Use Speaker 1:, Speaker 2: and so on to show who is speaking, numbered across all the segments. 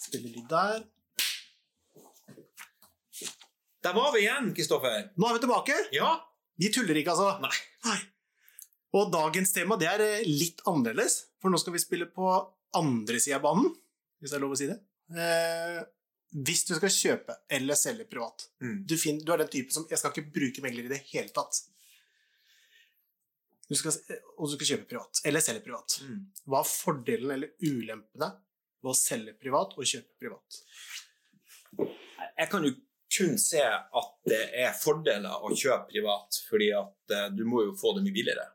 Speaker 1: Spiller litt der.
Speaker 2: Der var vi igjen, Kristoffer.
Speaker 1: Nå er vi tilbake.
Speaker 2: Ja.
Speaker 1: Vi tuller ikke, altså.
Speaker 2: Nei.
Speaker 1: Og dagens tema det er eh, litt annerledes, for nå skal vi spille på andre sida av banen, hvis det er lov å si det. Eh, hvis du skal kjøpe eller selge privat.
Speaker 2: Mm.
Speaker 1: Du, finner, du er den typen som Jeg skal ikke bruke megler i det hele tatt. Du skal, eh, og du skal kjøpe privat. Eller selge privat.
Speaker 2: Mm.
Speaker 1: Hva er fordelen eller ulempene ved å selge privat og kjøpe privat?
Speaker 2: Jeg kan jo kun se at det er fordeler å kjøpe privat, fordi at eh, du må jo få det mye billigere.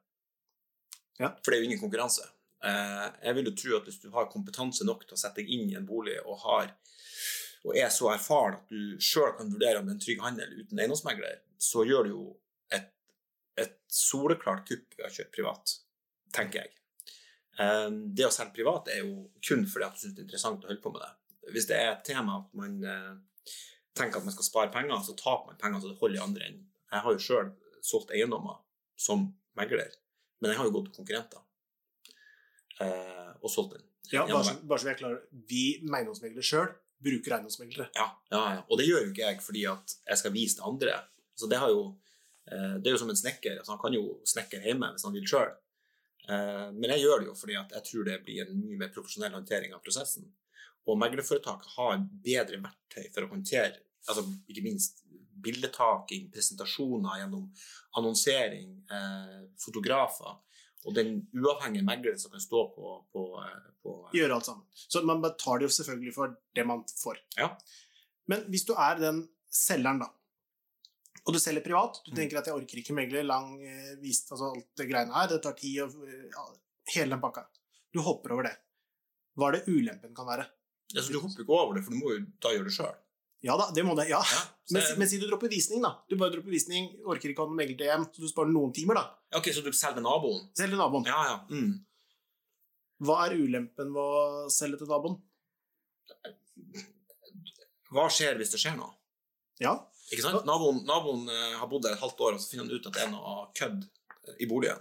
Speaker 1: Ja.
Speaker 2: For det er jo ingen konkurranse. Eh, Jeg vil jo tro at hvis du har kompetanse nok til å sette deg inn i en bolig og, har, og er så erfaren at du sjøl kan vurdere om det er en trygg handel uten eiendomsmegler, så gjør du jo et, et soleklart kupp ved å kjøpe privat, tenker jeg. Eh, Det å selge privat er jo kun fordi at du syns det er interessant å holde på med det. Hvis det er et tema at man eh, tenker at man skal spare penger, så taper man penger så det holder i andre enden. Jeg har jo sjøl solgt eiendommer som megler, men jeg har jo gått til konkurrenter eh, og solgt den.
Speaker 1: Ja,
Speaker 2: Ja,
Speaker 1: bare, så, bare så vi er klar. Vi eiendomsmeglere sjøl bruker eiendomsmeglere.
Speaker 2: Ja, ja, ja. Og det gjør jo ikke jeg fordi at jeg skal vise til andre. Så det, har jo, eh, det er jo som en snekker. Altså, han kan jo snekre hjemme hvis han vil sjøl. Eh, men jeg gjør det jo fordi at jeg tror det blir en mye mer profesjonell håndtering av prosessen. Og meglerforetaket har bedre verktøy for å håndtere altså, ikke minst bildetaking, presentasjoner gjennom annonsering, eh, fotografer. Og den uavhengige megleren som kan stå på, på, eh, på
Speaker 1: gjøre alt sammen. Så man betaler jo selvfølgelig for det man får.
Speaker 2: Ja.
Speaker 1: Men hvis du er den selgeren, da, og du selger privat, du
Speaker 2: Mm.
Speaker 1: tenker at jeg orker ikke megler, lang eh, vist, altså alt det greiene her, det tar tid og eh, ja, hele den pakka. Du hopper over det. Hva er det ulempen kan være?
Speaker 2: altså, Du hopper jo ikke over det, for du må jo da gjøre det sjøl.
Speaker 1: Ja da, det må det. ja.
Speaker 2: Ja, så
Speaker 1: Men,
Speaker 2: jeg-
Speaker 1: si- men si du dropper visning, da. Du bare dropper visning, orker ikke å ha noen megler til hjem, så du sparer noen timer, da.
Speaker 2: Ok, så du selger naboen?
Speaker 1: Selg til naboen.
Speaker 2: Ja, ja. Mm.
Speaker 1: Hva er ulempen ved å selge til naboen?
Speaker 2: Hva skjer hvis det skjer noe?
Speaker 1: Ja,
Speaker 2: Ikke sant? Naboen, naboen eh, har bodd der et halvt år, og så finner han ut at det er noe kødd i boligen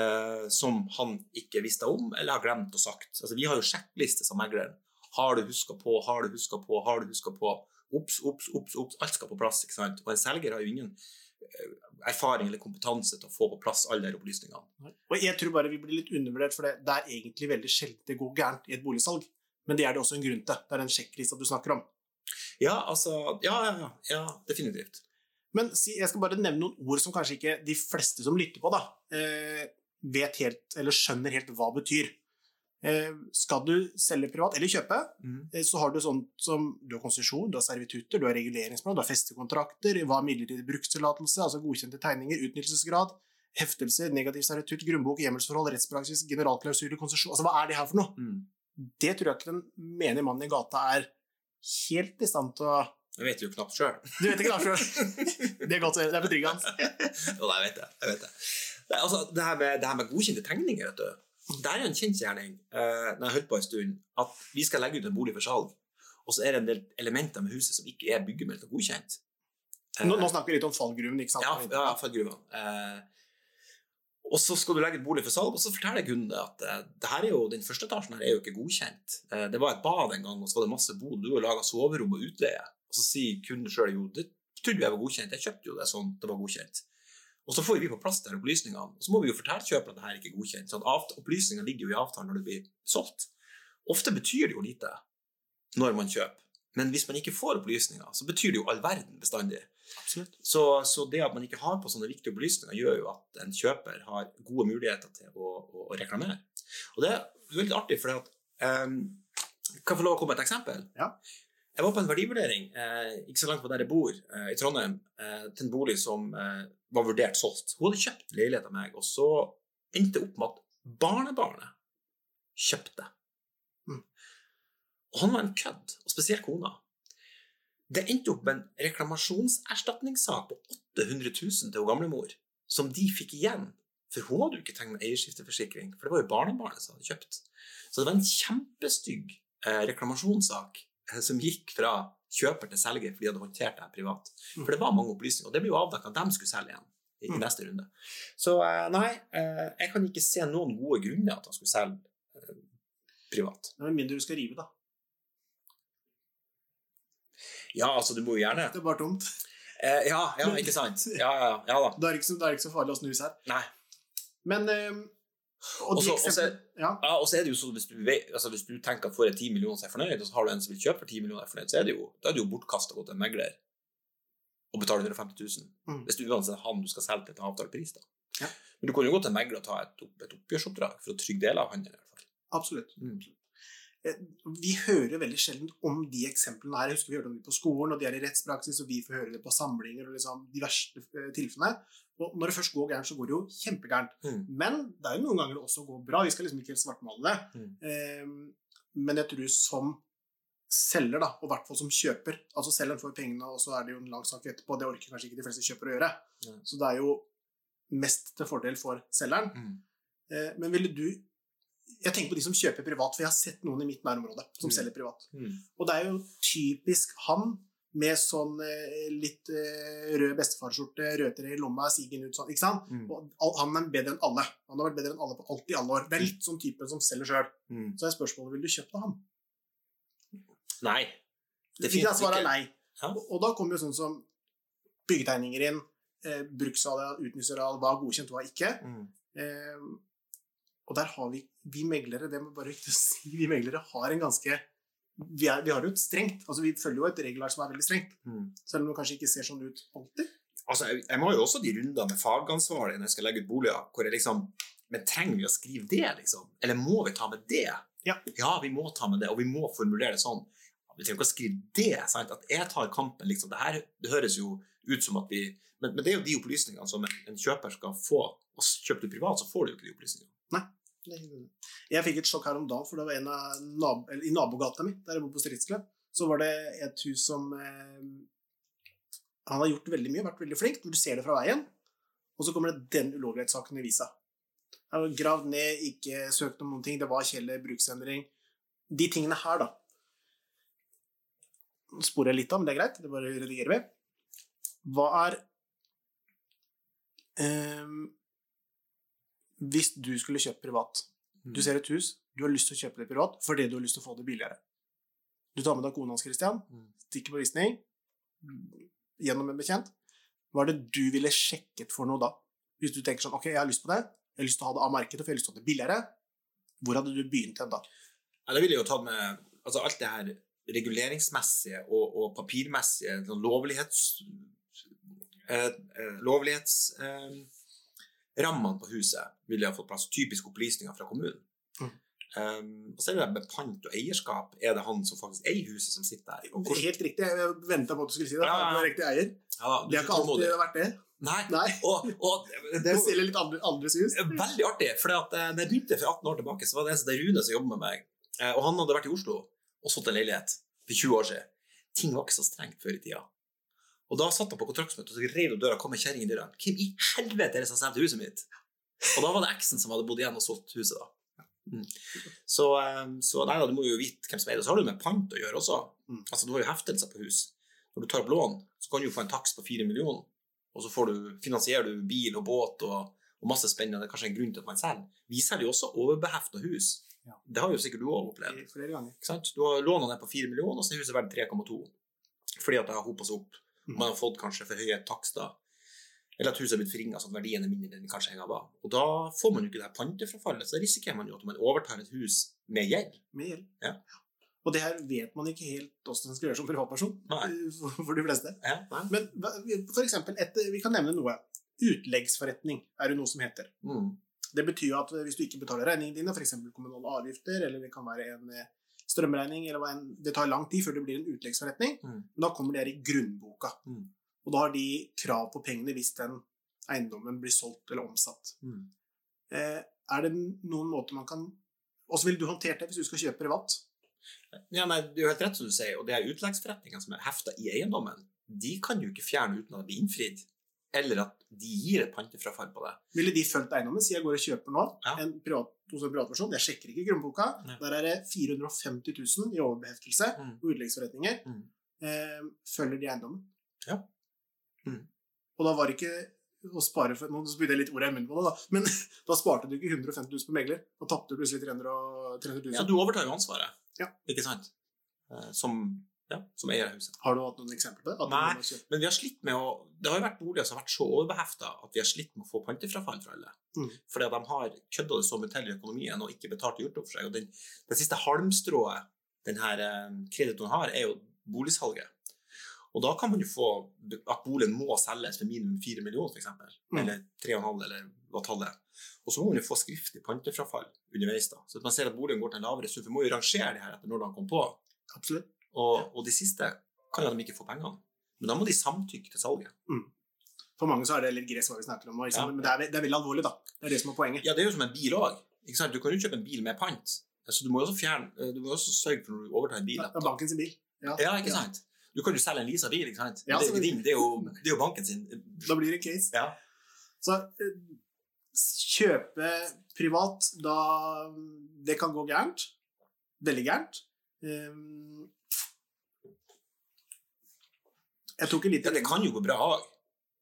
Speaker 2: eh, som han ikke visste om, eller har glemt og sagt. Altså, vi har jo sjekkliste som megleren. Har du huska på, har du huska på, har du huska på? Ops, ops, ops, ops. Alt skal på plass. ikke sant? Og en selger har jo ingen eh, erfaring eller kompetanse til å få på plass alle de opplysningene.
Speaker 1: Og jeg tror bare vi blir litt undervurdert, for det, det er egentlig veldig sjelden det går gærent i et boligsalg. Men det er det også en grunn til. Det er den sjekklista du snakker om.
Speaker 2: Ja, altså Ja, ja, ja. ja definitivt.
Speaker 1: Men si, jeg skal bare nevne noen ord som kanskje ikke de fleste som lytter på, da, eh, vet helt, eller skjønner helt hva betyr. Eh, skal du selge privat eller kjøpe, eh, så har du sånt som du har konsesjon, du har servitutter, du har reguleringsplan, du har festekontrakter, hva er midlertidig brukstillatelse, altså godkjente tegninger, utnyttelsesgrad, heftelser, negativ servitutt, grunnbok, hjemmelsforhold, rettspraksis, generalklausuler, konsesjon Altså hva er det her for noe?
Speaker 2: Mm.
Speaker 1: det tror jeg ikke den menige mannen i gata er helt i stand til å
Speaker 2: Jeg vet jo knapt sjøl.
Speaker 1: Du vet ikke, da, Sjøl. Det er godt å høre. Det er betryggende.
Speaker 2: Jo, jeg vet det. jeg vet Det Nei, altså, det, her med, det her med godkjente tegninger, vet du. Det er jo en kjensgjerning eh, når jeg har holdt på en stund, at vi skal legge ut en bolig for salg, og så er det en del elementer med huset som ikke er byggemeldt og godkjent. Eh,
Speaker 1: Nå, nå snakker vi litt om fallgruven, ikke sant?
Speaker 2: ja, ja, fallgruven. Eh, og så skal du legge ut bolig for salg, og så forteller kunden det at eh, det her er jo, den første etasjen her er jo ikke godkjent. Eh, det var et bad en gang, og så var det masse bod, du har laga soverom og utleie. Og så sier kunden sjøl jo, det trodde jeg var godkjent, jeg kjøpte jo det sånn, det var godkjent. Og så får vi på plass der opplysningene, og så må vi jo fortelle kjøperen at det her ikke er godkjent. Sånn, avt- opplysningene ligger jo i avtalen når det blir solgt. Ofte betyr det jo lite når man kjøper, men hvis man ikke får opplysninger, så betyr det jo all verden bestandig.
Speaker 1: absolutt.
Speaker 2: Så, så det at man ikke har på sånne viktige opplysninger, gjør jo at en kjøper har gode muligheter til å, å, å reklamere. Og det er veldig artig, for at em, Kan jeg få lov å komme med et eksempel?
Speaker 1: Ja.
Speaker 2: Jeg var på en verdivurdering eh, ikke så langt fra der jeg bor, eh, i Trondheim, eh, til en bolig som eh, var vurdert solgt. Hun hadde kjøpt leilighet av meg, og så endte det opp med at barnebarnet kjøpte.
Speaker 1: Mm.
Speaker 2: Og han var en kødd, og spesielt kona. Det endte opp med en reklamasjonserstatningssak på 800 000 til hun gamlemor, som de fikk igjen. For hun hadde jo ikke tegnet eierskifteforsikring, for det var jo barnebarnet som hadde kjøpt. Så det var en kjempestygg eh, reklamasjonssak eh, som gikk fra kjøper til selger, for de hadde håndtert det her privat. For det var mange opplysninger, og det ble jo avdekket at de skulle selge igjen i, i
Speaker 1: Mm.
Speaker 2: neste runde. Så eh, nei, eh, jeg kan ikke se noen gode grunner at han skulle selge eh, privat.
Speaker 1: Men mindre du skal rive, da.
Speaker 2: Ja, altså, du må jo gjerne
Speaker 1: Det er bare tomt.
Speaker 2: eh, Ja, ja, ikke sant? Ja, ja, ja, ja da.
Speaker 1: Da er det ikke så, da er det ikke så farlig å snu seg.
Speaker 2: Nei.
Speaker 1: Men eh, Og de
Speaker 2: Også-
Speaker 1: eksemplene ja.
Speaker 2: Ja, og så er det jo sånn hvis du, vet, altså hvis du tenker at får jeg 10 millioner så er jeg fornøyd, og så har du en som vil kjøpe for 10 millioner, og er fornøyd, så er det jo, da er det jo bortkasta å gå til en megler og betale 150 000.
Speaker 1: Mm.
Speaker 2: Hvis du uansett er han du skal selge til til avtalt pris, da.
Speaker 1: Ja.
Speaker 2: Men du kan jo gå til en megler og ta et, opp, et oppgjørsoppdrag for å trygge deler av handelen. i hvert fall.
Speaker 1: Absolutt.
Speaker 2: Mm.
Speaker 1: Eh, Vi hører veldig sjelden om de eksemplene her. Jeg husker vi hørte om dem på skolen, og de er i rettspraksis, og vi får høre det på samlinger og liksom de verste eh, tilfellene. Og når det først går gærent, så går det jo kjempegærent.
Speaker 2: Mm.
Speaker 1: Men det er jo noen ganger det også går bra. Vi skal liksom ikke helt svartmale det.
Speaker 2: Mm.
Speaker 1: Eh, men jeg tror som selger, da, og i hvert fall som kjøper Altså selgeren får pengene, og så er det jo en lang sak etterpå. Det orker kanskje ikke de fleste kjøpere å gjøre.
Speaker 2: Nei.
Speaker 1: Så det er jo mest til fordel for selgeren.
Speaker 2: Mm.
Speaker 1: Eh, Men ville du Jeg tenker på de som kjøper privat, for jeg har sett noen i mitt nærområde som
Speaker 2: Mm.
Speaker 1: selger privat.
Speaker 2: Mm.
Speaker 1: Og det er jo typisk han med sånn eh, litt eh, rød bestefarskjorte, rødtre i lomma, sigen ut sånn, ikke sant?
Speaker 2: Mm.
Speaker 1: Og al- han er bedre enn alle. Han har vært bedre enn alle på alt i alle år. Det er litt sånn typen som selger sjøl.
Speaker 2: Mm.
Speaker 1: Så er spørsmålet vil du kjøpe av ham.
Speaker 2: Nei.
Speaker 1: Definitivt ikke. Svaret er nei.
Speaker 2: Ja.
Speaker 1: Og, og da kommer jo sånn som byggetegninger inn, eh, bruksareal, utnyttelsesareal, hva er godkjent, hva er ikke.
Speaker 2: Mm.
Speaker 1: Eh, og der har vi Vi meglere, det må bare ikke si, vi meglere har en ganske vi, er, vi har det jo et strengt. altså Vi følger jo et regelverk som er veldig strengt.
Speaker 2: Mm.
Speaker 1: Selv om det kanskje ikke ser sånn ut alltid.
Speaker 2: Altså, jeg, jeg må jo også de runder med fagansvarlig når jeg skal legge ut boliger, hvor jeg liksom Men trenger vi å skrive det, liksom? Eller må vi ta med det?
Speaker 1: Ja.
Speaker 2: vi må ta med det, og vi må formulere det sånn. Vi trenger ikke å skrive det. sant? At jeg tar kampen, liksom. Det her det høres jo ut som at vi Men, men det er jo de opplysningene som en, en kjøper skal få. Og s- kjøper du privat, så får du jo ikke de opplysningene.
Speaker 1: Jeg fikk et sjokk her om dagen, for det var en av nab eller, i nabogata mi, der jeg bor på Stridsklev, så var det et hus som eh, Han har gjort veldig mye, vært veldig flink, hvor du ser det fra veien, og så kommer det den ulovlighetssaken i visa. Han var Gravd ned, ikke søkt om noen ting, det var Kjeller, bruksendring De tingene her, da. Nå sporer jeg litt av, men det er greit, det bare redigerer vi. Hva er eh, Hvis du skulle kjøpt privat du ser et hus, du har lyst til å kjøpe det privat fordi du har lyst til å få det billigere. Du tar med deg kona hans, Christian,
Speaker 2: Mm.
Speaker 1: stikker på visning, gjennom en bekjent. Hva er det du ville sjekket for noe da? Hvis du tenker sånn, ok, jeg har lyst på det, jeg har lyst til å ha det av markedet, for jeg har lyst til å ha det billigere. Hvor hadde du begynt hen da?
Speaker 2: Ja, da ville jeg jo tatt med altså alt det her reguleringsmessige og, og papirmessige sånn lovlighets... Eh, Lovlighetsrammene eh, rammene på huset ville jeg ha fått plass. Typiske opplysninger fra kommunen.
Speaker 1: Mm.
Speaker 2: Um, og så er det med pant og eierskap. Er det han som faktisk eier huset, som sitter der? Og hvordan-
Speaker 1: Helt riktig, jeg ventet på at du skulle si det.
Speaker 2: Ja, ja, ja.
Speaker 1: Du er riktig eier.
Speaker 2: ja, da, du
Speaker 1: Det har ikke
Speaker 2: tror
Speaker 1: alltid
Speaker 2: det.
Speaker 1: vært det.
Speaker 2: Nei.
Speaker 1: Nei,
Speaker 2: Og, og det,
Speaker 1: du
Speaker 2: det,
Speaker 1: selger litt andre, andres hus.
Speaker 2: Veldig artig, for at, eh, når jeg begynte for 18 år tilbake, så var det en som heter Rune som jobbet med meg. Eh, Og han hadde vært i Oslo og satt en leilighet for 20 år siden. Ting var ikke så strengt før i tida. Og da satt han på kontraktsmøte, og så reiv han døra og kom med kjerring i døra. Hvem i helvete er det som selger huset mitt? Og da var det eksen som hadde bodd igjen og solgt huset, da. Mm. Så, eh, så nei da, du må jo vite hvem som eier det. Så har du med pant å gjøre også.
Speaker 1: Mm.
Speaker 2: Altså, du har jo heftelser på hus. Når du tar opp lån, så kan du jo få en takst på 4 millioner, og så får du, finansierer du bil og båt og og masse spennende. Det er kanskje en grunn til at man selger. Vi selger jo også overbehefta hus.
Speaker 1: Ja.
Speaker 2: Det har jo sikkert du òg opplevd.
Speaker 1: Flere ganger.
Speaker 2: Ikke sant? Du har lånet ned på 4 millioner, og så er huset verdt 3,2. Fordi at det har hopa seg opp.
Speaker 1: Mhm.
Speaker 2: Man har fått kanskje for høye takster. Eller at huset har blitt forringa sånn at verdien er mindre enn den kanskje en gang var. Og da får man jo ikke det her pantefrafallet, så da risikerer man jo at man overtar et hus med gjeld.
Speaker 1: Med gjeld.
Speaker 2: Ja.
Speaker 1: Og det her vet man ikke helt hvordan man skal gjøre som privatperson,
Speaker 2: Nei.
Speaker 1: for for de fleste.
Speaker 2: Ja, nei.
Speaker 1: Men hva- vi- for eksempel, et, vi kan nevne noe. Utleggsforretning er det noe som heter.
Speaker 2: Mm.
Speaker 1: Det betyr jo at hvis du ikke betaler regningene dine, f.eks. kommunale avgifter, eller det kan være en eh, strømregning, eller hva enn, det tar lang tid før det blir en utleggsforretning,
Speaker 2: Mm.
Speaker 1: men da kommer det her i grunnboka.
Speaker 2: Mm.
Speaker 1: Og da har de krav på pengene hvis den eiendommen blir solgt eller omsatt.
Speaker 2: Mm.
Speaker 1: Eh, er det noen måter man kan Åssen ville du håndtert det hvis du skal kjøpe privat?
Speaker 2: Ja, nei, Det er jo helt rett som du sier, og det er utleggsforretningene som er hefta i eiendommen, de kan du ikke fjerne uten at det blir innfridd. Eller at de gir et pantefrafall på det.
Speaker 1: Ville de fulgt eiendommen? Si jeg går og kjøper nå
Speaker 2: Ja.
Speaker 1: en privat, hos en privatperson. Jeg sjekker ikke grunnboka.
Speaker 2: Nei.
Speaker 1: Der er det 450 000 i overbeheftelse
Speaker 2: Mm.
Speaker 1: og utleggsforretninger.
Speaker 2: Mm.
Speaker 1: Eh, følger de eiendommen?
Speaker 2: Ja. Mm.
Speaker 1: Og da var det ikke å spare for Nå spydde jeg litt ordet i munnen på det, da. Men da sparte du ikke 150 000 på megler. Da tapte du plutselig 300 og- 300 000.
Speaker 2: Ja, du overtar jo ansvaret,
Speaker 1: Ja.
Speaker 2: ikke sant? Eh, Som ja, som eier av huset.
Speaker 1: Har du hatt noen eksempler på det? At
Speaker 2: Nei.
Speaker 1: noen har kjøpt-
Speaker 2: Men vi har slitt med å, det har jo vært boliger som har vært så overbehefta at vi har slitt med å få pantefrafall fra alle.
Speaker 1: Mm.
Speaker 2: Fordi at de har kødda det så mye til i økonomien og ikke betalt og gjort opp for seg. Og den, det siste halmstrået denne kreditoren har, er jo boligsalget. Og da kan man jo få at boligen må selges for minimum 4 millioner, f.eks.
Speaker 1: Mm.
Speaker 2: Eller 3,5, eller hva tallet er. Og så må man jo få skriftlig pantefrafall underveis. da. Så at man ser at boligen går til en lavere sum. For man må jo rangere det her etter når de kom på.
Speaker 1: Absolutt.
Speaker 2: Og, og de siste kan jo at de ikke får pengene. Men da må de samtykke til salget.
Speaker 1: For mange så er det litt gress hva vi snakker om, og liksom,
Speaker 2: Ja.
Speaker 1: men det er, ve- det er veldig alvorlig, da. Det er det som er poenget.
Speaker 2: Ja, det er jo som en bil òg. Du kan jo kjøpe en bil med pant. Så du må jo også, fjerne, eh, du må jo også sørge for når du overtar en bil.
Speaker 1: Det
Speaker 2: at-
Speaker 1: er banken sin bil.
Speaker 2: Ja, ikke sant? Du kan jo selge en leasa bil, ikke sant?
Speaker 1: Ja,
Speaker 2: Men det er jo ikke
Speaker 1: selvfølgelig.
Speaker 2: din, det er jo, det er jo banken sin.
Speaker 1: Da blir det case.
Speaker 2: Ja.
Speaker 1: Så eh, s- kjøpe privat, da Det kan gå gærent. Veldig gærent. Ehm, jeg tok en
Speaker 2: Ja,
Speaker 1: liten
Speaker 2: det kan jo gå bra òg.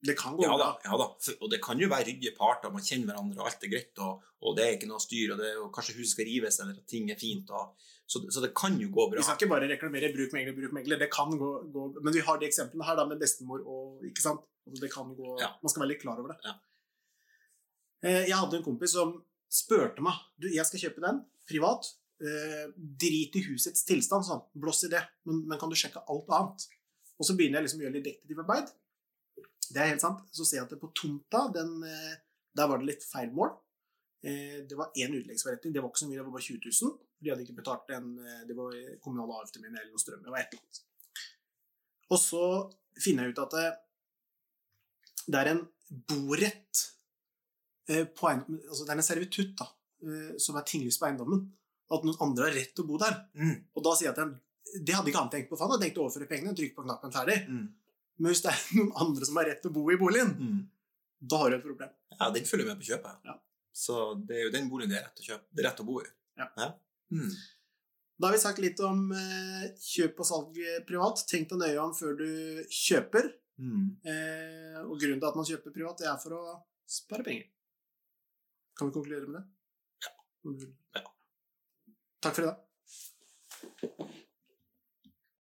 Speaker 1: Det kan gå
Speaker 2: Ja,
Speaker 1: bra.
Speaker 2: da, ja da. For- Og det kan jo være ryddige parter, man kjenner hverandre, og alt er greit, og, og det er ikke noe styr, og, det, og kanskje huset skal rives, eller at ting er fint. Og, så, så det kan jo gå
Speaker 1: Vi
Speaker 2: bra.
Speaker 1: skal ikke bare reklamere 'bruk megler, bruk megler'. Det kan gå, gå Men vi har de eksemplene her da med bestemor og Ikke sant? Altså, Det kan gå
Speaker 2: Ja.
Speaker 1: Man skal være litt klar over det.
Speaker 2: Ja.
Speaker 1: Eh, Jeg hadde en kompis som spurte meg Du, jeg skal kjøpe den privat. Eh, Drit i husets tilstand, sånn. Blås i det. Men, men kan du sjekke alt annet? Og så begynner jeg liksom å gjøre litt detektivarbeid. Det er helt sant. Så ser jeg at det på tomta, den, eh, der var det litt feil mål. Eh, Det var én utleggsforretning, det var ikke så mye, det var bare 20 000. De hadde ikke betalt en eh, Det var kommunal avgift min eller noe strøm, det var et eller annet. Og så finner jeg ut at det, det er en borett eh, på eiendom- altså Det er en servitutt da, eh, som er tinglyst på eiendommen. At noen andre har rett til å bo der.
Speaker 2: Mm,
Speaker 1: Og da sier jeg til dem Det hadde ikke han tenkt på, for han hadde tenkt å overføre pengene. Trykk på knappen, ferdig.
Speaker 2: mm,
Speaker 1: Men hvis det er noen andre som har rett til å bo i boligen,
Speaker 2: mm.
Speaker 1: da har du et problem.
Speaker 2: Ja, den følger med på kjøpet.
Speaker 1: Ja.
Speaker 2: Så det er jo den boligen det er rett å kjøpe. Det er rett å bo i.
Speaker 1: Ja.
Speaker 2: Mm.
Speaker 1: Da har vi sagt litt om eh, kjøp og salg eh, privat. Tenk deg nøye om før du kjøper.
Speaker 2: Mm.
Speaker 1: Eh, og grunnen til at man kjøper privat, det er for å spare penger. Kan vi konkludere med det? Ja. Takk for i dag.